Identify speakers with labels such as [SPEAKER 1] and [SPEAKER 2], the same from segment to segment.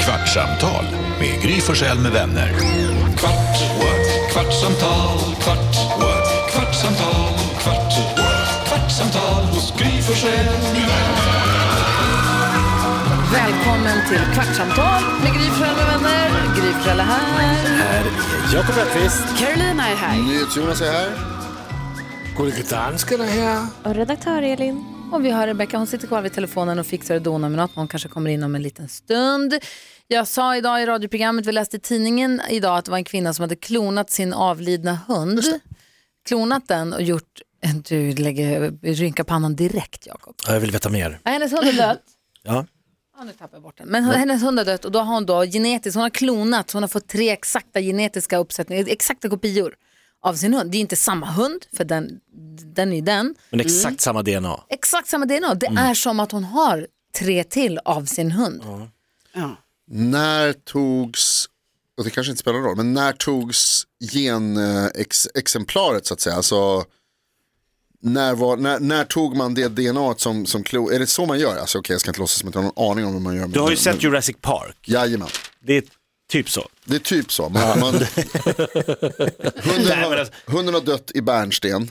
[SPEAKER 1] Kvartsamtal med Gry Forssell med vänner. Kvart, what? kvartsamtal, kvart, what? kvartsamtal, kvart, what? kvartsamtal hos Gry Forssell med vänner.
[SPEAKER 2] Välkommen till Kvartsamtal med Gry Forssell med vänner. Gry Forssell är här.
[SPEAKER 3] Jakob Öqvist.
[SPEAKER 2] Carolina är här.
[SPEAKER 4] NyhetsJonas är här.
[SPEAKER 3] Gullige danskarna här.
[SPEAKER 5] Och redaktör Elin.
[SPEAKER 2] Och vi har Rebecka, hon sitter kvar vid telefonen och fixar och donar med något. Hon kanske kommer in om en liten stund. Jag sa idag i radioprogrammet, vi läste i tidningen idag att det var en kvinna som hade klonat sin avlidna hund. Klonat den och gjort, du lägger, rynkar pannan direkt Jakob.
[SPEAKER 3] Jag vill veta mer.
[SPEAKER 2] Nej, Hennes hund är död.
[SPEAKER 3] Ja.
[SPEAKER 2] Ja, nu tappar jag bort den. Men hennes hund har dött och då har hon då genetiskt, hon har klonat, hon har fått tre exakta genetiska uppsättningar, exakta kopior av sin hund. Det är inte samma hund, för den, den är ju den.
[SPEAKER 3] Men exakt
[SPEAKER 6] Mm.
[SPEAKER 3] samma DNA.
[SPEAKER 2] Exakt samma DNA, det är som att hon har tre till av sin hund.
[SPEAKER 4] När togs, och det kanske inte spelar någon roll, men när togs genexemplaret så att säga? Alltså, när, var, när, när tog man det DNA som, som klo, är det så man gör? Alltså okej, jag ska inte låtsas som att jag har någon aning om hur man gör.
[SPEAKER 6] Du har ju
[SPEAKER 4] men,
[SPEAKER 6] sett Jurassic Park.
[SPEAKER 4] Jajamän,
[SPEAKER 6] Det är typ så.
[SPEAKER 4] det är typ så. Man, man, hunden,
[SPEAKER 6] men
[SPEAKER 4] har,
[SPEAKER 6] alltså-
[SPEAKER 4] hunden har dött i bärnsten.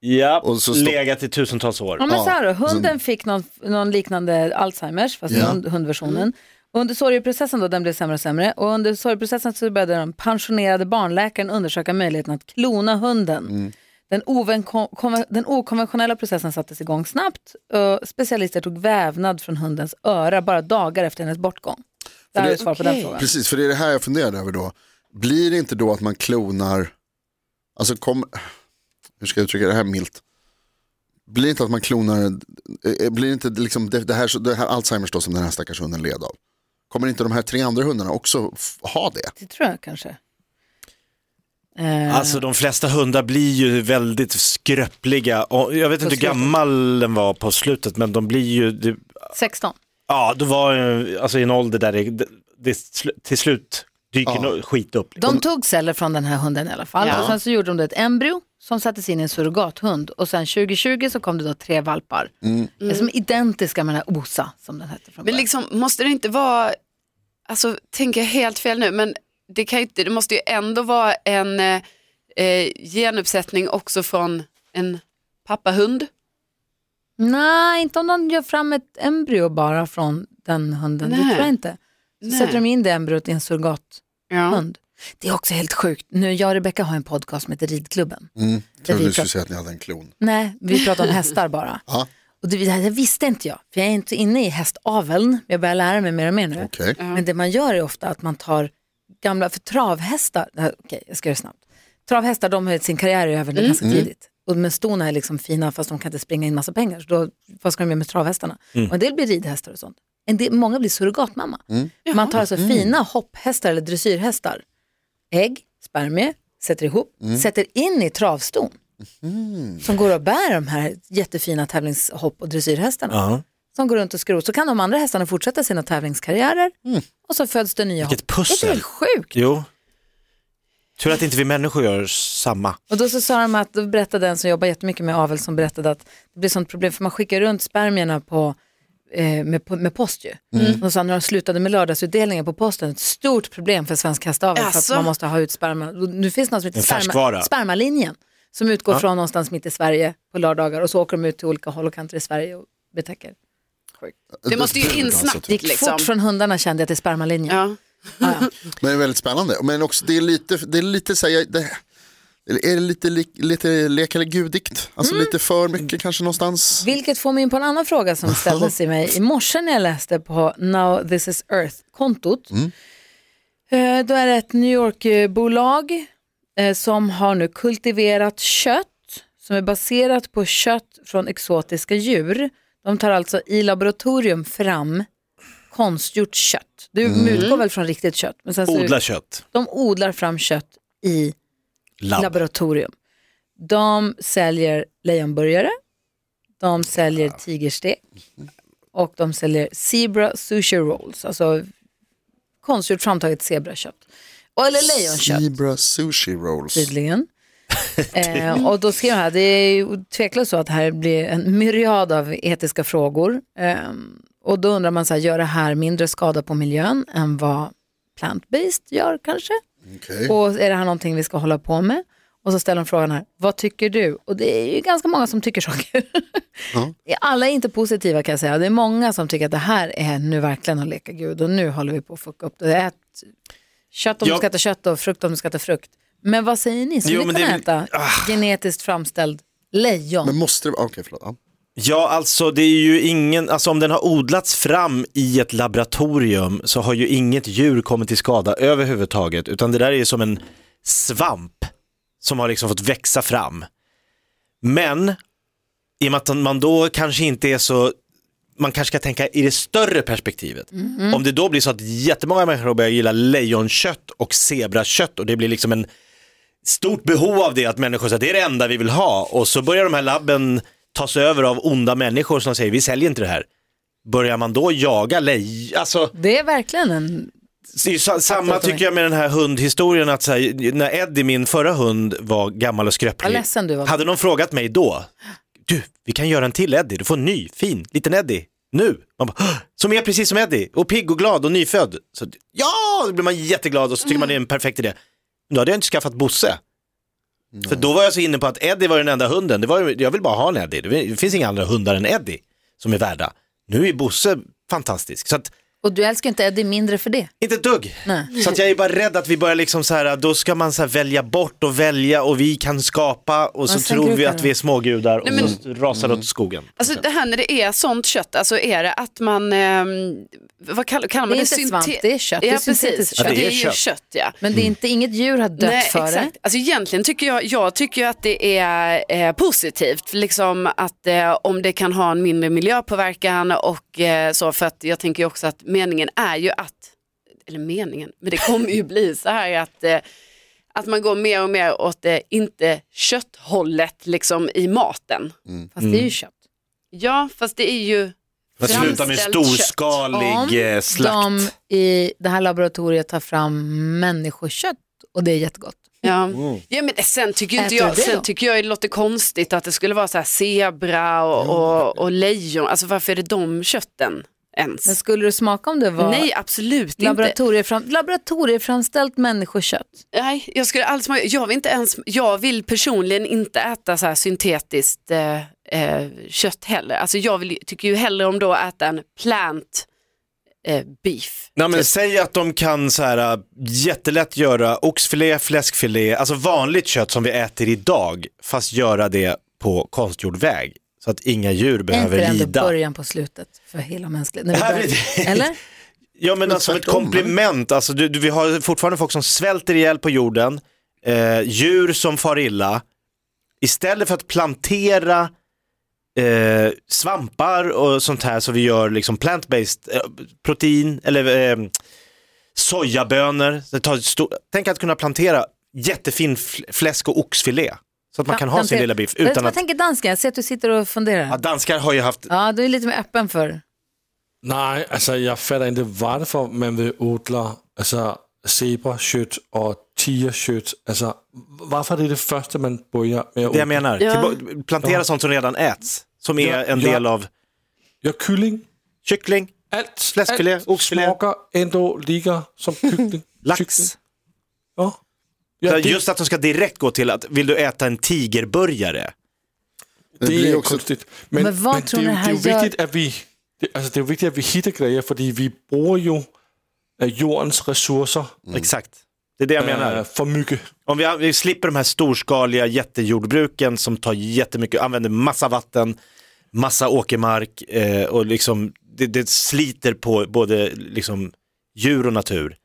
[SPEAKER 6] Ja,
[SPEAKER 4] Och så stopp-
[SPEAKER 6] legat i tusentals
[SPEAKER 2] Ja,
[SPEAKER 6] år.
[SPEAKER 2] men
[SPEAKER 4] Ja, alltså-
[SPEAKER 2] så här då, hunden fick någon, någon liknande Alzheimers, fast
[SPEAKER 4] Ja.
[SPEAKER 2] hund, hundversionen. Och under sorgeprocessen då, den blev sämre och sämre. Och under sorgeprocessen så började den pensionerade barnläkaren undersöka möjligheten att klona hunden.
[SPEAKER 4] Mm.
[SPEAKER 2] Den, ovenko- konven- den okonventionella processen sattes igång snabbt. Och specialister tog vävnad från hundens öra bara dagar efter hennes bortgång. Det här är
[SPEAKER 4] det-
[SPEAKER 2] ett svar på den frågan.
[SPEAKER 4] Precis, för det är det här jag funderade över då. Blir det inte då att man klonar, alltså kom, hur ska jag uttrycka det här milt? Blir det inte att man klonar, eh, blir det inte liksom det, det, här, det här Alzheimers då som den här stackars hunden led av? Kommer inte de här tre andra hundarna också f- ha det?
[SPEAKER 2] Det tror jag kanske. Eh,
[SPEAKER 6] Alltså de flesta hundar blir ju väldigt skröpliga. Och jag vet inte hur
[SPEAKER 2] slutet.
[SPEAKER 6] gammal den var på slutet, men de blir ju, det-
[SPEAKER 2] 16.
[SPEAKER 6] ja, då var ju, alltså i en ålder där det, det- det sl- till slut dyker
[SPEAKER 4] Ja.
[SPEAKER 6] no- skit upp.
[SPEAKER 2] De tog celler från den här hunden i alla fall. Och sen så gjorde de då ett embryo som sattes in i en surrogathund. Och sen 2020 så kom det då tre valpar. Som är identiska med den här Osa som den hette från
[SPEAKER 7] Mm. Men
[SPEAKER 2] början.
[SPEAKER 7] liksom, måste det inte vara, alltså tänker jag helt fel nu, men det, kan ju inte, det måste ju ändå vara en eh, eh, genuppsättning också från en pappahund. liksom-
[SPEAKER 2] Nej, inte om de gör fram ett embryo bara från den hunden. Det
[SPEAKER 7] Nej.
[SPEAKER 2] tror jag inte. Så
[SPEAKER 7] Nej.
[SPEAKER 2] sätter de in det embryot i en surrogathund.
[SPEAKER 7] Ja.
[SPEAKER 2] Det är också helt sjukt. Nu, jag och Rebecka har en podcast som heter Ridklubben.
[SPEAKER 4] Mm. Jag
[SPEAKER 2] vi
[SPEAKER 4] trodde du
[SPEAKER 2] pratar-
[SPEAKER 4] skulle säga att ni hade en klon.
[SPEAKER 2] Nej, vi pratar om hästar bara.
[SPEAKER 4] Ja.
[SPEAKER 2] Och det, det här visste inte jag, för jag är inte inne i hästaveln. men Jag börjar lära mig mer och mer nu.
[SPEAKER 4] Okej.
[SPEAKER 2] Men det man gör är ofta att man tar gamla, för travhästar, nej, okej jag ska göra det snabbt. Travhästar de har sin karriär över nu ganska tidigt. Och men stona är liksom fina fast de kan inte springa in massa pengar. Så då, vad ska de göra med travhästarna? Och en del blir ridhästar och sånt. En del, många blir surrogatmamma. Man tar alltså fina hopphästar eller dressyrhästar, ägg, spermie, sätter ihop, sätter in i travston. Som går och bär de här jättefina tävlingshopp och dressyrhästarna
[SPEAKER 3] Ja.
[SPEAKER 2] som går runt och skrot så kan de andra hästarna fortsätta sina tävlingskarriärer och så föds det nya
[SPEAKER 6] Mm. Vilket
[SPEAKER 2] hopp. Det är
[SPEAKER 6] pussel.
[SPEAKER 2] väl sjukt?
[SPEAKER 6] Jo. Tur att inte vi människor gör samma.
[SPEAKER 2] Och då så sa de att, då berättade den som jobbar jättemycket med avel som berättade att det blir sånt problem för man skickar runt spermierna på eh, med, på- med post ju. Och
[SPEAKER 6] Mm.
[SPEAKER 2] så sa när de slutade med lördagsutdelningen på posten, ett stort problem för svensk hästavel för
[SPEAKER 7] Jaså?
[SPEAKER 2] att man måste ha ut sperma. Och Nu finns det något som heter
[SPEAKER 6] En
[SPEAKER 2] sperma,
[SPEAKER 6] färskvara.
[SPEAKER 2] spermalinjen som utgår från någonstans mitt i Sverige på lördagar och så åker de ut till olika håll och kanter i Sverige och betäcker.
[SPEAKER 7] Det måste ju in
[SPEAKER 4] Alltså,
[SPEAKER 7] snabbt
[SPEAKER 2] Det gick
[SPEAKER 7] liksom.
[SPEAKER 2] fort från hundarna kände jag till spermalinjen.
[SPEAKER 7] Ja.
[SPEAKER 4] Men det är väldigt spännande. Men också det är lite, det är lite så här, jag- det, är det lite, li- lite lek eller gudikt? Alltså lite för mycket kanske någonstans?
[SPEAKER 2] Vilket får mig in på en annan fråga som ställdes till mig i morse när jag läste på Now This Is Earth-kontot. Eh, Då är det ett New York-bolag eh, som har nu kultiverat kött som är baserat på kött från exotiska djur. De tar alltså i laboratorium fram konstgjort kött. Du utgår väl från riktigt kött? Men sen så,
[SPEAKER 6] Odla kött.
[SPEAKER 2] De odlar fram kött i
[SPEAKER 6] Labb.
[SPEAKER 2] laboratorium. De säljer lejonburgare, de säljer tigerstek och de säljer zebra sushi rolls, alltså konstgjort framtaget zebrakött. Och- Eller lejonkött
[SPEAKER 4] Zebra sushi rolls.
[SPEAKER 2] tydligen. eh, och då skrev jag här, det är ju tveklöst så att här blir en myriad av etiska frågor. Eh, Och då undrar man, så här, gör det här mindre skada på miljön än vad plant-based gör kanske?
[SPEAKER 4] Okej.
[SPEAKER 2] Och är det här någonting vi ska hålla på med? Och så ställer de frågan här, vad tycker du? Och det är ju ganska många som tycker saker. Alla är inte positiva kan jag säga. Det är många som tycker att det här är nu verkligen att leka gud och nu håller vi på att fucka upp det. Ät kött om du
[SPEAKER 6] Ja.
[SPEAKER 2] ska äta kött och frukt om du ska äta frukt. Men vad säger ni? Skulle
[SPEAKER 6] Jo,
[SPEAKER 2] ni
[SPEAKER 6] men
[SPEAKER 2] kunna
[SPEAKER 6] det är Ah. väl-
[SPEAKER 2] äta genetiskt framställd lejon?
[SPEAKER 4] Men måste det vara, okej förlåt. Ja.
[SPEAKER 6] Ja, alltså det är ju ingen, alltså om den har odlats fram i ett laboratorium så har ju inget djur kommit till skada överhuvudtaget, utan det där är ju som en svamp som har liksom fått växa fram. Men, i och med att man då kanske inte är så, man kanske ska tänka i det större perspektivet. Om det då blir så att jättemånga människor börjar gilla lejonkött och zebrakött och det blir liksom en stort behov av det, att människor säger det är det enda vi vill ha. Och så börjar de här labben tas över av onda människor som säger vi säljer inte det här. Börjar man då jaga lej... Alltså,
[SPEAKER 2] Det är verkligen en...
[SPEAKER 6] det är ju sa- samma
[SPEAKER 2] Absolut.
[SPEAKER 6] tycker jag med den här hundhistorien att så här, när Eddie, min förra hund, var gammal och
[SPEAKER 2] Vad
[SPEAKER 6] skröplig.
[SPEAKER 2] ledsen du var.
[SPEAKER 6] Hade någon frågat mig då, du, vi kan göra en till Eddie, du får en ny, fin, liten Eddie, nu. Man bara, "Åh!" som är precis som Eddie, och pigg och glad och nyfödd. Så, ja, då blir man jätteglad och så tycker man det är en perfekt idé. Men då hade jag inte skaffat Bosse. För då var jag så inne på att Eddie var den enda hunden, det var, ju- jag vill bara ha en Eddie, det finns inga andra hundar än Eddie som är värda. Nu är Bosse fantastisk, så att
[SPEAKER 2] Och du älskar ju inte Eddie mindre för det.
[SPEAKER 6] inte ett dugg.
[SPEAKER 2] Nej.
[SPEAKER 6] Så att jag är bara rädd att vi börjar liksom så här, då ska man så här välja bort och välja och vi kan skapa och så
[SPEAKER 2] Men sen
[SPEAKER 6] tror vi
[SPEAKER 2] krukar
[SPEAKER 6] att
[SPEAKER 2] det.
[SPEAKER 6] vi är smågudar och
[SPEAKER 7] Nej, men-
[SPEAKER 6] så rasar det åt skogen.
[SPEAKER 7] Alltså det här när det är sånt kött, alltså är det att man, ehm, vad kallar, kallar
[SPEAKER 2] Det
[SPEAKER 7] man
[SPEAKER 2] är
[SPEAKER 7] det?
[SPEAKER 2] inte
[SPEAKER 7] Synte-
[SPEAKER 2] svamp, det är kött. Det är
[SPEAKER 7] Ja,
[SPEAKER 2] syntetiskt
[SPEAKER 7] precis.
[SPEAKER 2] kött.
[SPEAKER 7] Ja, det är
[SPEAKER 6] kött.
[SPEAKER 7] ju kött, ja.
[SPEAKER 2] Men det
[SPEAKER 6] Mm.
[SPEAKER 2] är inte, inget djur har dött
[SPEAKER 7] Nej,
[SPEAKER 2] för det.
[SPEAKER 7] exakt. Alltså egentligen tycker jag, jag tycker ju att det är eh, positivt, liksom att eh, om det kan ha en mindre miljöpåverkan och eh, så, för att jag tänker ju också att meningen är ju att, eller meningen, men det kommer ju bli så här att, eh, att man går mer och mer åt eh, inte kötthållet liksom i maten.
[SPEAKER 6] Mm.
[SPEAKER 2] Fast det är ju kött.
[SPEAKER 7] Ja, fast det är ju
[SPEAKER 6] Man slutar med
[SPEAKER 7] framställt kött.
[SPEAKER 6] storskalig eh, slakt.
[SPEAKER 2] Om de i det här laboratoriet tar fram människokött och det är jättegott.
[SPEAKER 7] Ja. ja men sen tycker ju inte
[SPEAKER 2] Mm. Äter du
[SPEAKER 7] jag,
[SPEAKER 2] det
[SPEAKER 7] sen
[SPEAKER 2] då?
[SPEAKER 7] tycker jag det låter konstigt att det skulle vara så här zebra och, och, och lejon, alltså varför är det de kötten
[SPEAKER 2] Men
[SPEAKER 7] ens?
[SPEAKER 2] skulle du smaka om det var
[SPEAKER 7] Nej absolut inte.
[SPEAKER 2] laboratoriefram, laboratorieframställt människokött?
[SPEAKER 7] Nej, jag skulle alls, jag vill inte ens, jag vill personligen inte äta så här syntetiskt eh, eh, kött heller. Alltså jag vill, tycker ju hellre om då att äta en plant eh, beef.
[SPEAKER 6] Nej, men säg att de kan så här, äh, jättelätt göra oxfilé, fläskfilé, alltså vanligt kött som vi äter idag, fast göra det på konstgjord väg. Så att inga djur
[SPEAKER 2] Är inte det
[SPEAKER 6] behöver
[SPEAKER 2] ändå
[SPEAKER 6] lida.
[SPEAKER 2] början på slutet för hela mänskligheten?
[SPEAKER 6] Det här
[SPEAKER 2] När vi
[SPEAKER 6] blir-
[SPEAKER 2] börjar- Eller?
[SPEAKER 6] Ja men, alltså som ett
[SPEAKER 4] tvärtom,
[SPEAKER 6] komplement, alltså, du, du, vi har fortfarande folk som svälter ihjäl på jorden, eh, djur som far illa. Istället för att plantera eh, svampar och sånt här så vi gör liksom plant-based eh, protein eller eh, sojabönor. Det tar stor... Tänk att kunna plantera jättefin fl- fläsk och oxfilé så att man kan ha sin lilla biff
[SPEAKER 2] Jag,
[SPEAKER 6] utan
[SPEAKER 2] jag
[SPEAKER 6] att...
[SPEAKER 2] tänker dansken, jag ser att du sitter och funderar.
[SPEAKER 6] Ja,
[SPEAKER 2] Ja,
[SPEAKER 6] danskar har ju haft
[SPEAKER 2] du är lite mer öppen för.
[SPEAKER 3] Nej, alltså jag fattar inte varför man vill odla alltså, zebrakött och tigerkött. Alltså, varför är det det första man börjar med att
[SPEAKER 6] det
[SPEAKER 3] odla?
[SPEAKER 6] jag menar.
[SPEAKER 7] Ja.
[SPEAKER 6] Tillba- Plantera sånt som redan äts, som är
[SPEAKER 3] Ja,
[SPEAKER 6] en
[SPEAKER 3] ja.
[SPEAKER 6] del av
[SPEAKER 3] Ja, kylling,
[SPEAKER 6] kyckling,
[SPEAKER 3] allt,
[SPEAKER 6] Fläskfilé,
[SPEAKER 3] allt
[SPEAKER 6] oxfilé.
[SPEAKER 3] smakar ändå lika som kyckling.
[SPEAKER 6] lax.
[SPEAKER 3] Kyckling. Ja.
[SPEAKER 6] Så
[SPEAKER 3] Ja, det,
[SPEAKER 6] Just att de ska direkt gå till att, vill du äta en tigerburgare?
[SPEAKER 4] Det
[SPEAKER 3] det
[SPEAKER 4] blir
[SPEAKER 3] är
[SPEAKER 4] också,
[SPEAKER 3] konstigt.
[SPEAKER 2] Men vad tror
[SPEAKER 3] det,
[SPEAKER 2] ni
[SPEAKER 3] är ju-
[SPEAKER 2] han
[SPEAKER 3] det är
[SPEAKER 2] gör?
[SPEAKER 3] ju viktigt att vi, det, alltså, det är viktigt att vi hittar grejer, för vi bruger ju eh, jordens resurser
[SPEAKER 6] Exakt. Det är det jag
[SPEAKER 3] eh,
[SPEAKER 6] menar.
[SPEAKER 3] för mycket.
[SPEAKER 6] Om vi, vi slipper de här storskaliga jättejordbruken som tar jättemycket, använder massa vatten, massa åkermark eh, och liksom, det, det sliter på både liksom, djur och natur.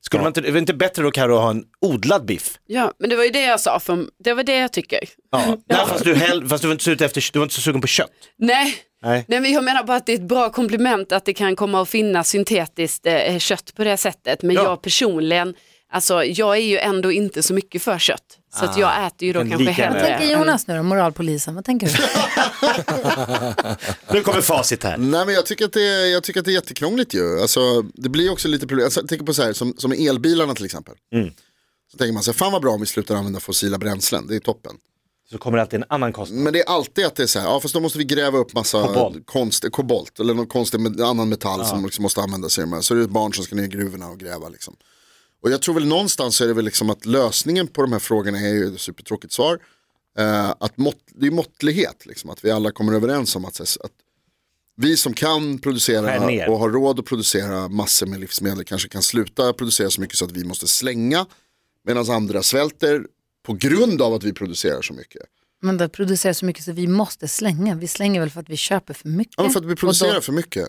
[SPEAKER 6] Skulle man inte, är det inte bättre då Karo att ha en odlad biff?
[SPEAKER 7] Ja, men det var ju det jag sa, för, det var det jag tycker.
[SPEAKER 6] Ja. Nej, fast, du hell, fast du var inte så ute efter, du var inte så sugen på kött.
[SPEAKER 7] Nej,
[SPEAKER 6] Nej.
[SPEAKER 7] Nej men jag menar bara att det är ett bra komplement att det kan komma att finnas syntetiskt eh, kött på det sättet. Men
[SPEAKER 6] Ja.
[SPEAKER 7] jag personligen, alltså jag är ju ändå inte så mycket för kött. Så att jag äter ju då
[SPEAKER 6] Men
[SPEAKER 7] kanske
[SPEAKER 6] Ah, lika
[SPEAKER 7] hellre.
[SPEAKER 2] Vad tänker Jonas nu då, moralpolisen? Vad tänker du?
[SPEAKER 6] Nu kommer facit här.
[SPEAKER 4] nej men jag tycker, att det, är- jag tycker att det är jättekrångligt ju. Alltså, det blir också lite problem, alltså, jag tänker på så här, som, som med elbilarna till exempel. Så tänker man så här, fan vad bra om vi slutar använda fossila bränslen, det är toppen.
[SPEAKER 6] så kommer det alltid en annan kostnad.
[SPEAKER 4] Men det är alltid att det är så här, ja fast då måste vi gräva upp massa
[SPEAKER 6] Kobolt.
[SPEAKER 4] konst, kobolt eller någon konstig med, annan metall som liksom måste användas i de här. Så är det ett barn som ska ner i gruvorna och gräva liksom. Och jag tror väl någonstans så är det väl liksom att lösningen på de här frågorna är ju ett supertråkigt svar. Eh, att mått, det är måttlighet, liksom, att vi alla kommer överens om att, så här, att vi som kan
[SPEAKER 6] Skär
[SPEAKER 4] producera
[SPEAKER 6] ner.
[SPEAKER 4] och har råd att producera massor med livsmedel kanske kan sluta producera så mycket så att vi måste slänga. Medan andra svälter på grund av att vi producerar så mycket.
[SPEAKER 2] Men det producerar så mycket så vi måste slänga. Vi slänger väl för att vi köper för mycket.
[SPEAKER 4] Ja, men för att vi producerar
[SPEAKER 2] Eh, Och då-
[SPEAKER 4] för mycket.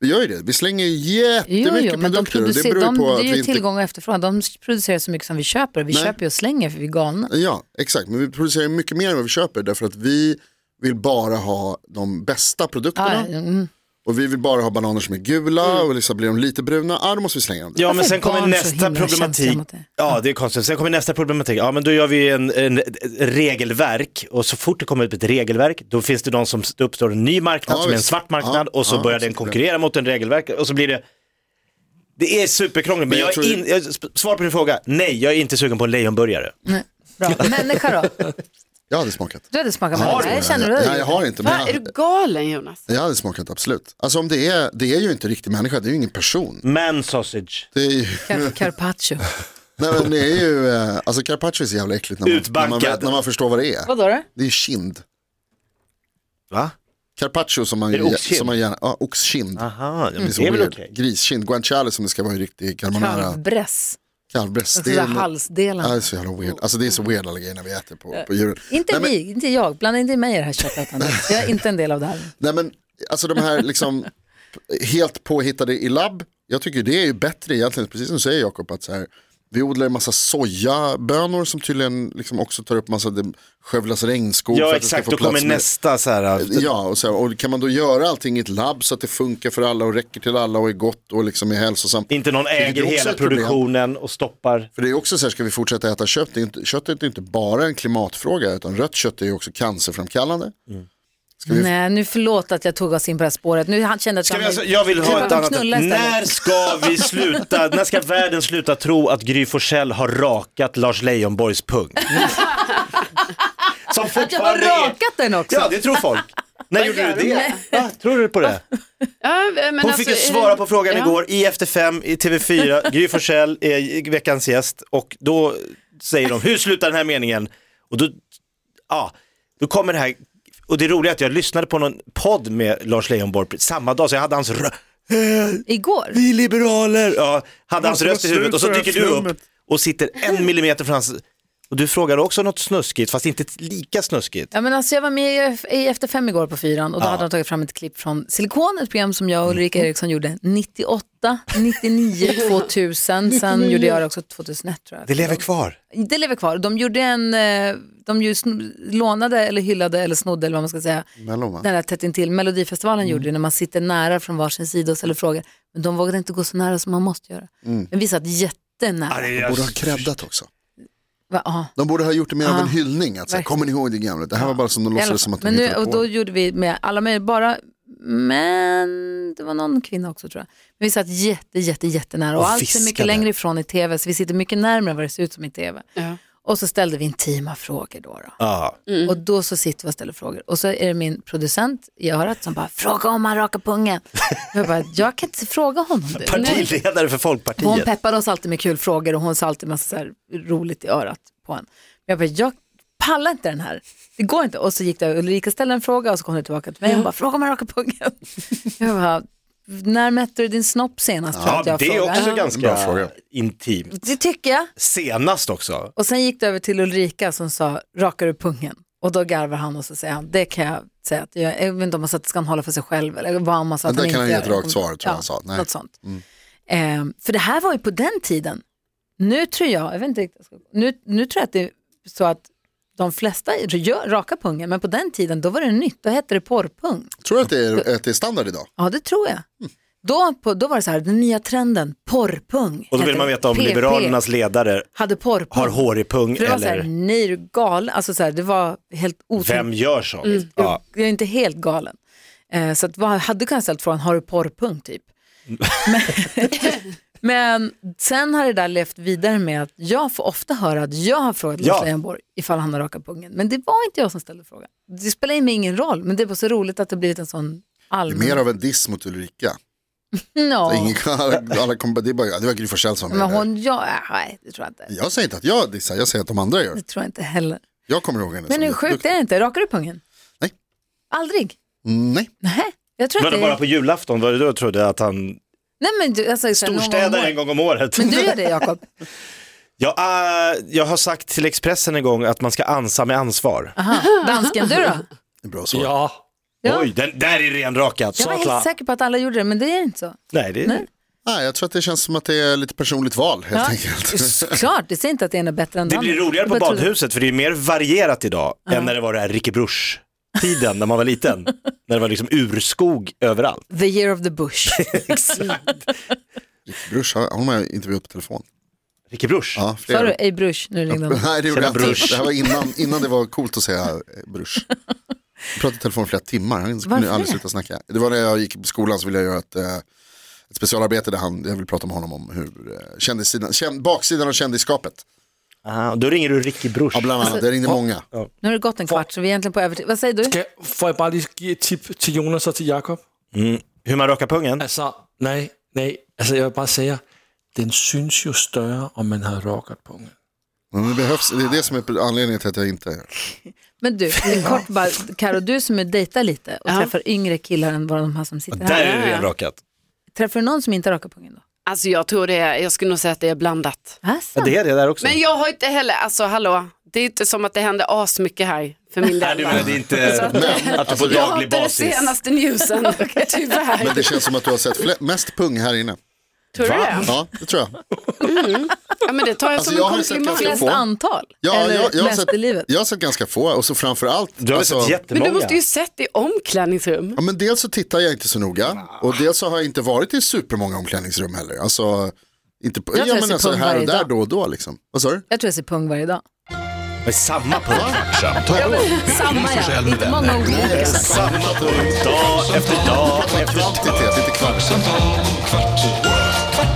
[SPEAKER 4] Vi gör ju det, vi slänger jättemycket
[SPEAKER 2] Jo, jo, men de
[SPEAKER 4] produkter. och
[SPEAKER 2] producerar,
[SPEAKER 4] det beror
[SPEAKER 2] de,
[SPEAKER 4] ju på
[SPEAKER 2] det
[SPEAKER 4] att
[SPEAKER 2] är
[SPEAKER 4] vi
[SPEAKER 2] ju
[SPEAKER 4] inte...
[SPEAKER 2] tillgång och efterfrågan. De producerar så mycket som vi köper. Vi
[SPEAKER 4] Nej.
[SPEAKER 2] köper ju och slänger för vi är galna.
[SPEAKER 4] Ja, exakt. Men vi producerar mycket mer än vad vi köper därför att vi vill bara ha de bästa
[SPEAKER 2] Ja,
[SPEAKER 4] produkterna.
[SPEAKER 2] ja, mm.
[SPEAKER 4] Och vi vill bara ha bananer som är gula och liksom blir de lite bruna, ja då måste vi slänga dem.
[SPEAKER 6] Ja men
[SPEAKER 2] Varför är
[SPEAKER 6] sen kommer
[SPEAKER 2] barn så
[SPEAKER 6] nästa
[SPEAKER 2] himla känsliga
[SPEAKER 6] problematik.
[SPEAKER 2] mot det?
[SPEAKER 6] Ja det är konstigt. Sen kommer nästa problematik. Ja men då gör vi en, en, ett regelverk och så fort det kommer upp ett regelverk då finns det någon som då uppstår en ny marknad
[SPEAKER 4] Ja,
[SPEAKER 6] som är en
[SPEAKER 4] visst.
[SPEAKER 6] svart marknad
[SPEAKER 4] Ja,
[SPEAKER 6] och så
[SPEAKER 4] ja,
[SPEAKER 6] börjar
[SPEAKER 4] absolut.
[SPEAKER 6] den konkurrera mot en regelverk och så blir det det är superkrångligt, men
[SPEAKER 4] Men jag
[SPEAKER 6] jag,
[SPEAKER 4] tror-
[SPEAKER 6] är in, jag, sp- svar på din fråga, nej jag är inte sugen på en lejonburgare.
[SPEAKER 2] Nej. Bra. Människa då?
[SPEAKER 4] Jag hade smakat.
[SPEAKER 2] Du hade smakat
[SPEAKER 4] Har
[SPEAKER 2] människa?
[SPEAKER 4] du?
[SPEAKER 2] Nej, jag känner du?
[SPEAKER 4] Nej, jag har inte. Men
[SPEAKER 7] Va, är
[SPEAKER 4] jag,
[SPEAKER 7] du galen Jonas?
[SPEAKER 4] jag hade smakat, absolut. Alltså om det är, det är ju inte riktig människa, det är ju ingen person.
[SPEAKER 6] Man sausage,
[SPEAKER 4] Det är ju,
[SPEAKER 2] Car- Carpaccio.
[SPEAKER 4] nej men det är ju, eh, alltså carpaccio är så jävla äckligt när man, när man,
[SPEAKER 6] Utbankad.
[SPEAKER 4] vet, när man förstår vad det är.
[SPEAKER 2] Vadå då?
[SPEAKER 4] Det är kind.
[SPEAKER 6] va?
[SPEAKER 4] Carpaccio som man,
[SPEAKER 6] Är det oxkind?
[SPEAKER 4] som man gärna, ja oxkind.
[SPEAKER 6] Aha, ja, men
[SPEAKER 4] så
[SPEAKER 6] det är väl
[SPEAKER 4] weird.
[SPEAKER 6] okej.
[SPEAKER 4] Griskind, guanciale som det ska vara i riktig carbonara.
[SPEAKER 2] Kalvbräss.
[SPEAKER 4] Kalvbräst.
[SPEAKER 2] Sådär
[SPEAKER 4] en-
[SPEAKER 2] Alltså, halsdelen.
[SPEAKER 4] Ja, det är så jävla weird. Alltså det är så weird alla grejer när vi äter på, på djuren.
[SPEAKER 2] Inte
[SPEAKER 4] nej, men,
[SPEAKER 2] vi, inte jag. Blanda inte mig i det här köttet. Anders. Jag är inte en del av det här.
[SPEAKER 4] Nej men alltså de här liksom helt påhittade i labb. Jag tycker det är ju bättre egentligen, precis som du säger Jakob, att så här, vi odlar en massa sojabönor som tydligen liksom också tar upp massa, det skövlas
[SPEAKER 6] Ja
[SPEAKER 4] regnskog för att det
[SPEAKER 6] exakt,
[SPEAKER 4] ska få
[SPEAKER 6] då
[SPEAKER 4] plats
[SPEAKER 6] kommer
[SPEAKER 4] med-
[SPEAKER 6] nästa så här,
[SPEAKER 4] Ja, och, så här, och kan man då göra allting i ett labb så att det funkar för alla och räcker till alla och är gott och liksom är hälsosamt.
[SPEAKER 6] inte någon
[SPEAKER 4] Vilket
[SPEAKER 6] äger
[SPEAKER 4] också är
[SPEAKER 6] hela
[SPEAKER 4] ett problem.
[SPEAKER 6] produktionen och stoppar.
[SPEAKER 4] För det är också så här, ska vi fortsätta äta kött? Det är inte, kött är inte bara en klimatfråga, utan rött kött är ju också cancerframkallande.
[SPEAKER 6] Mm.
[SPEAKER 4] Ska vi-
[SPEAKER 2] Nej, nu förlåt att jag tog oss in på det här spåret. Nu han kände att
[SPEAKER 6] Ska
[SPEAKER 2] han
[SPEAKER 6] vi alltså, jag vill
[SPEAKER 2] Kan
[SPEAKER 6] ha ett
[SPEAKER 2] man
[SPEAKER 6] annat.
[SPEAKER 2] knulla istället?
[SPEAKER 6] När ska vi sluta, när ska världen sluta tro att Gry Forssell har rakat Lars Leijonborgs pung? Som
[SPEAKER 2] Att jag har
[SPEAKER 6] fortfarande är...
[SPEAKER 2] rakat den också.
[SPEAKER 6] Ja, det tror folk. När gjorde du det? Va? Tror du på det?
[SPEAKER 7] Ja, men
[SPEAKER 6] Hon
[SPEAKER 7] alltså,
[SPEAKER 6] fick ju
[SPEAKER 7] är-
[SPEAKER 6] svara på frågan
[SPEAKER 7] ja.
[SPEAKER 6] igår i Efter fem i TV4, Gry Forssell är veckans gäst och då säger de, hur slutar den här meningen? Och då, ja, då kommer det här, och det roliga är att jag lyssnade på någon podd med Lars Leijonborg samma dag så jag hade hans rö- "Eh,
[SPEAKER 2] Igår.
[SPEAKER 6] vi liberaler, ja, hade hans
[SPEAKER 4] måste vara
[SPEAKER 6] röst i huvudet
[SPEAKER 4] slut
[SPEAKER 6] och så
[SPEAKER 4] på det här
[SPEAKER 6] dyker du upp
[SPEAKER 4] flummet.
[SPEAKER 6] och sitter en millimeter från hans, och du frågade också något snuskigt fast inte lika snuskigt.
[SPEAKER 2] Ja, men alltså, jag var med i- i Efter fem igår på fyran och då hade de tagit fram ett klipp från Silikon, ett program som jag och Ulrika
[SPEAKER 6] Mhm.
[SPEAKER 2] Eriksson gjorde 98, 99, 2000, sen gjorde jag det också 2001 tror jag.
[SPEAKER 6] Det lever kvar.
[SPEAKER 2] Det lever kvar. De gjorde en, eh, de ju sn- lånade eller hyllade eller snodde eller vad man ska säga.
[SPEAKER 4] Mellon, va?
[SPEAKER 2] Den där tätt intill. Melodifestivalen
[SPEAKER 6] Mm.
[SPEAKER 2] gjorde det när man sitter nära från varsin sida och ställer frågor. Men de vågade inte gå så nära som man måste göra. Men vi satt jättenära.
[SPEAKER 6] Mm. det
[SPEAKER 4] De borde ha creddat också.
[SPEAKER 2] Va? Ja.
[SPEAKER 4] De borde ha gjort det mer av
[SPEAKER 2] Ja.
[SPEAKER 4] en hyllning. Att, så här,
[SPEAKER 2] Verkligen.
[SPEAKER 4] kommer ni ihåg det gamla? Det här var bara som de
[SPEAKER 2] I alla fall.
[SPEAKER 4] låtsades som att de
[SPEAKER 2] men nu,
[SPEAKER 4] hittade
[SPEAKER 2] och
[SPEAKER 4] på.
[SPEAKER 2] då gjorde vi med alla möjliga, bara men det var någon kvinna också tror jag. Men vi satt jätte, jätte, jättenära och,
[SPEAKER 6] Och
[SPEAKER 2] och allt är mycket
[SPEAKER 6] viskade.
[SPEAKER 2] längre ifrån i tv så vi sitter mycket närmare än vad det ser ut som i tv.
[SPEAKER 7] Ja.
[SPEAKER 2] Och så ställde vi intima frågor då. då.
[SPEAKER 6] Ja.
[SPEAKER 2] Och då så sitter vi och ställer frågor. Och så är det min producent i örat som bara, fråga om han rakar pungen. jag bara, jag kan inte fråga honom det.
[SPEAKER 6] Partiledare för
[SPEAKER 2] Hon
[SPEAKER 6] Folkpartiet.
[SPEAKER 2] peppade oss alltid med kul frågor och hon sa alltid massa så här roligt i örat på en. Men jag bara, jag pallar inte den här. Det går inte. Och så gick det, Ulrika ställde en fråga och så kom det tillbaka till mig och bara, fråga om jag rakar pungen. jag bara, när mätte du din snopp senast? tror jag
[SPEAKER 6] Ja,
[SPEAKER 2] att jag
[SPEAKER 6] det är
[SPEAKER 2] frågar.
[SPEAKER 6] också
[SPEAKER 4] Ah. Bra
[SPEAKER 6] ganska
[SPEAKER 4] fråga.
[SPEAKER 6] intimt.
[SPEAKER 2] Det tycker jag.
[SPEAKER 6] Senast också.
[SPEAKER 2] Och sen gick det över till Ulrika som sa, rakar du pungen? Och då garvar han och så säger han, det kan jag säga att jag, jag vet inte om han sa att ska han hålla för sig själv eller vad han sa att
[SPEAKER 4] Men där
[SPEAKER 2] han
[SPEAKER 4] kan han
[SPEAKER 2] inte
[SPEAKER 4] ge ett
[SPEAKER 2] gör.
[SPEAKER 4] rakt svar, tror jag han sa. Nej. Mm.
[SPEAKER 2] Något sånt. Ehm, för det här var ju på den tiden. Nu tror jag, jag vet inte riktigt, nu, nu tror jag att det är så att de flesta gör, rakar pungen, men på den tiden då var det nytt, då hette det porrpung.
[SPEAKER 4] Tror du att det, är, att det är standard idag?
[SPEAKER 2] Ja, det tror jag.
[SPEAKER 4] Mm.
[SPEAKER 2] Då, på, då var det så här, den nya trenden, porrpung.
[SPEAKER 6] Och då vill
[SPEAKER 2] hette
[SPEAKER 6] man
[SPEAKER 2] det.
[SPEAKER 6] veta om
[SPEAKER 2] PP
[SPEAKER 6] Liberalernas ledare
[SPEAKER 2] hade porrpung.
[SPEAKER 6] har hårig pung
[SPEAKER 2] För det var så här,
[SPEAKER 6] eller
[SPEAKER 2] nej är du galen? Alltså så här, det var helt
[SPEAKER 6] vem
[SPEAKER 2] otroligt.
[SPEAKER 6] gör sånt?
[SPEAKER 2] Mm.
[SPEAKER 6] Ja.
[SPEAKER 2] Jag är inte helt galen. Eh, så att, vad hade du kunnat ställt frågan, har du porrpung typ? Men, Men sen har det där levt vidare med att jag får ofta höra att jag har frågat
[SPEAKER 6] Ja.
[SPEAKER 2] Lars Leijonborg ifall han har rakat pungen. Men det var inte jag som ställde frågan. Det spelar ju mig ingen roll, men det är bara så roligt att det blivit en sån
[SPEAKER 4] Det är
[SPEAKER 2] allmän...
[SPEAKER 4] mer av en diss mot Ulrika.
[SPEAKER 2] Mm. Ja.
[SPEAKER 4] Ingen, alla, alla kom, det, är bara, det var Gry Forssell som
[SPEAKER 2] Men
[SPEAKER 4] gjorde det.
[SPEAKER 2] hon, ja, nej, det tror jag inte.
[SPEAKER 4] Jag säger inte att jag dissar, jag säger att de andra gör.
[SPEAKER 2] Det tror jag inte heller.
[SPEAKER 4] Jag kommer ihåg henne.
[SPEAKER 2] Men
[SPEAKER 4] som
[SPEAKER 2] hur sjukt
[SPEAKER 4] jätteduktig.
[SPEAKER 2] är det inte? Rakar du pungen?
[SPEAKER 4] Nej.
[SPEAKER 2] Aldrig?
[SPEAKER 4] Nej,
[SPEAKER 2] Nej. Jag tror
[SPEAKER 6] Var
[SPEAKER 2] att
[SPEAKER 6] det
[SPEAKER 2] det...
[SPEAKER 6] bara på julafton? Var det då jag trodde att han
[SPEAKER 2] Nej men du, alltså, så här, någon gång om
[SPEAKER 6] storstädade
[SPEAKER 2] året.
[SPEAKER 6] en gång om året?
[SPEAKER 2] Men du gör det Jakob?
[SPEAKER 6] Jag, äh, jag har sagt till Expressen en gång att man ska ansa med ansvar.
[SPEAKER 2] Aha. Dansken, du då?
[SPEAKER 4] det är bra svar.
[SPEAKER 3] Ja,
[SPEAKER 2] Ja.
[SPEAKER 6] Oj, den där är renrakat.
[SPEAKER 2] Jag var helt
[SPEAKER 3] klart.
[SPEAKER 2] säker på att alla gjorde det, men det är inte så.
[SPEAKER 6] Nej, det
[SPEAKER 2] Nej.
[SPEAKER 4] Nej, jag tror att det känns som att det är lite personligt val helt enkelt.
[SPEAKER 2] Klart, det säger inte att det ena är bättre än
[SPEAKER 6] Det
[SPEAKER 2] andra.
[SPEAKER 6] blir roligare på
[SPEAKER 2] Jag bara trodde-
[SPEAKER 6] badhuset för det är mer varierat idag än när det var det här Ricky Bruch-tiden när man var liten. när det var liksom urskog överallt.
[SPEAKER 2] The year of the bush.
[SPEAKER 4] Brors, har hon har intervjuat på telefon?
[SPEAKER 6] Ricky Bruch.
[SPEAKER 4] Ja,
[SPEAKER 2] Sa
[SPEAKER 4] flera.
[SPEAKER 2] du ej brush? Nu ringde hon.
[SPEAKER 4] Nej, det gjorde
[SPEAKER 6] Tjena,
[SPEAKER 4] jag inte.
[SPEAKER 6] brors.
[SPEAKER 4] Det här var innan, innan det var coolt att säga eh, brors. Vi pratade i telefon i flera timmar, han kunde
[SPEAKER 2] Varför
[SPEAKER 4] aldrig
[SPEAKER 2] det?
[SPEAKER 4] sluta snacka. Det var när jag gick i skolan så ville jag göra ett, eh, ett specialarbete där han, jag vill prata med honom om hur eh, kändissidan, känd, baksidan av kändisskapet.
[SPEAKER 6] Aha, då ringer du Ricky Bruch.
[SPEAKER 4] Ja, bland annat, det ringde många.
[SPEAKER 2] Nu har det gått en kvart så vi är egentligen på övertid. Vad säger du?
[SPEAKER 3] Kan, får jeg bare lige give et tip til Jonas og til Jakob?
[SPEAKER 6] Hur man rakar
[SPEAKER 7] Äh,
[SPEAKER 6] pungen?
[SPEAKER 3] Altså, nej, nej. Altså, jeg vil bare sige, den synes jo større, om man har rocket på den.
[SPEAKER 4] Men det, behövs, det är det som är anledningen till att jag inte gör det.
[SPEAKER 2] Men du, kort bara, Karo, du som är dejtar lite och träffar yngre killar än bara de här som sitter
[SPEAKER 6] Där
[SPEAKER 2] här.
[SPEAKER 7] äh.
[SPEAKER 6] är det renrakat.
[SPEAKER 2] Träffar du någon som inte rakar pungen då?
[SPEAKER 7] Alltså jag tror det är, jag skulle nog säga att det är blandat.
[SPEAKER 2] Alltså,
[SPEAKER 6] Ja, det är det där också.
[SPEAKER 7] Men jag har inte heller, alltså hallå, det är inte som att det händer asmycket här för min
[SPEAKER 6] Nej,
[SPEAKER 7] del.
[SPEAKER 6] du
[SPEAKER 7] va?
[SPEAKER 6] menar det är inte
[SPEAKER 4] Men,
[SPEAKER 6] att du på
[SPEAKER 7] jag har
[SPEAKER 6] daglig
[SPEAKER 7] inte den
[SPEAKER 6] basis.
[SPEAKER 7] senaste newsen, tyvärr.
[SPEAKER 4] men det känns som att du har sett fle- mest pung här inne.
[SPEAKER 7] tror du det?
[SPEAKER 4] Ja, det tror jag.
[SPEAKER 7] Ja, men det tar jag
[SPEAKER 4] Alltså,
[SPEAKER 7] som
[SPEAKER 4] jag
[SPEAKER 7] en
[SPEAKER 4] har ju sett
[SPEAKER 7] komplimang.
[SPEAKER 4] ganska
[SPEAKER 2] Flest
[SPEAKER 4] få.
[SPEAKER 2] antal?
[SPEAKER 4] Ja,
[SPEAKER 2] Eller
[SPEAKER 4] jag, jag, har
[SPEAKER 2] mest
[SPEAKER 4] sett,
[SPEAKER 2] i livet?
[SPEAKER 4] jag har sett ganska få och så framförallt. alltså,
[SPEAKER 6] Du har väl sett
[SPEAKER 7] Men
[SPEAKER 6] jättemånga?
[SPEAKER 7] du måste ju sett i omklädningsrum.
[SPEAKER 4] Ja, men dels så tittar jag inte så noga och dels så har jag inte varit i supermånga omklädningsrum heller. Alltså, inte på,
[SPEAKER 2] tror
[SPEAKER 4] ja,
[SPEAKER 2] jag
[SPEAKER 4] men
[SPEAKER 2] ser
[SPEAKER 4] alltså
[SPEAKER 2] pung
[SPEAKER 4] här och
[SPEAKER 2] varje
[SPEAKER 4] där
[SPEAKER 2] dag.
[SPEAKER 4] då och då liksom. Vad sa du?
[SPEAKER 2] Jag tror jag ser pung varje dag.
[SPEAKER 6] Men samma pung.
[SPEAKER 1] Kvartsamtal
[SPEAKER 2] Samma ja,
[SPEAKER 1] Forssell med
[SPEAKER 2] inte många
[SPEAKER 1] vänner.
[SPEAKER 2] olika.
[SPEAKER 6] samma pung. Dag efter dag efter dag.
[SPEAKER 4] Kvantitet, inte kvart.
[SPEAKER 1] Kvartsamtal, kvart, what?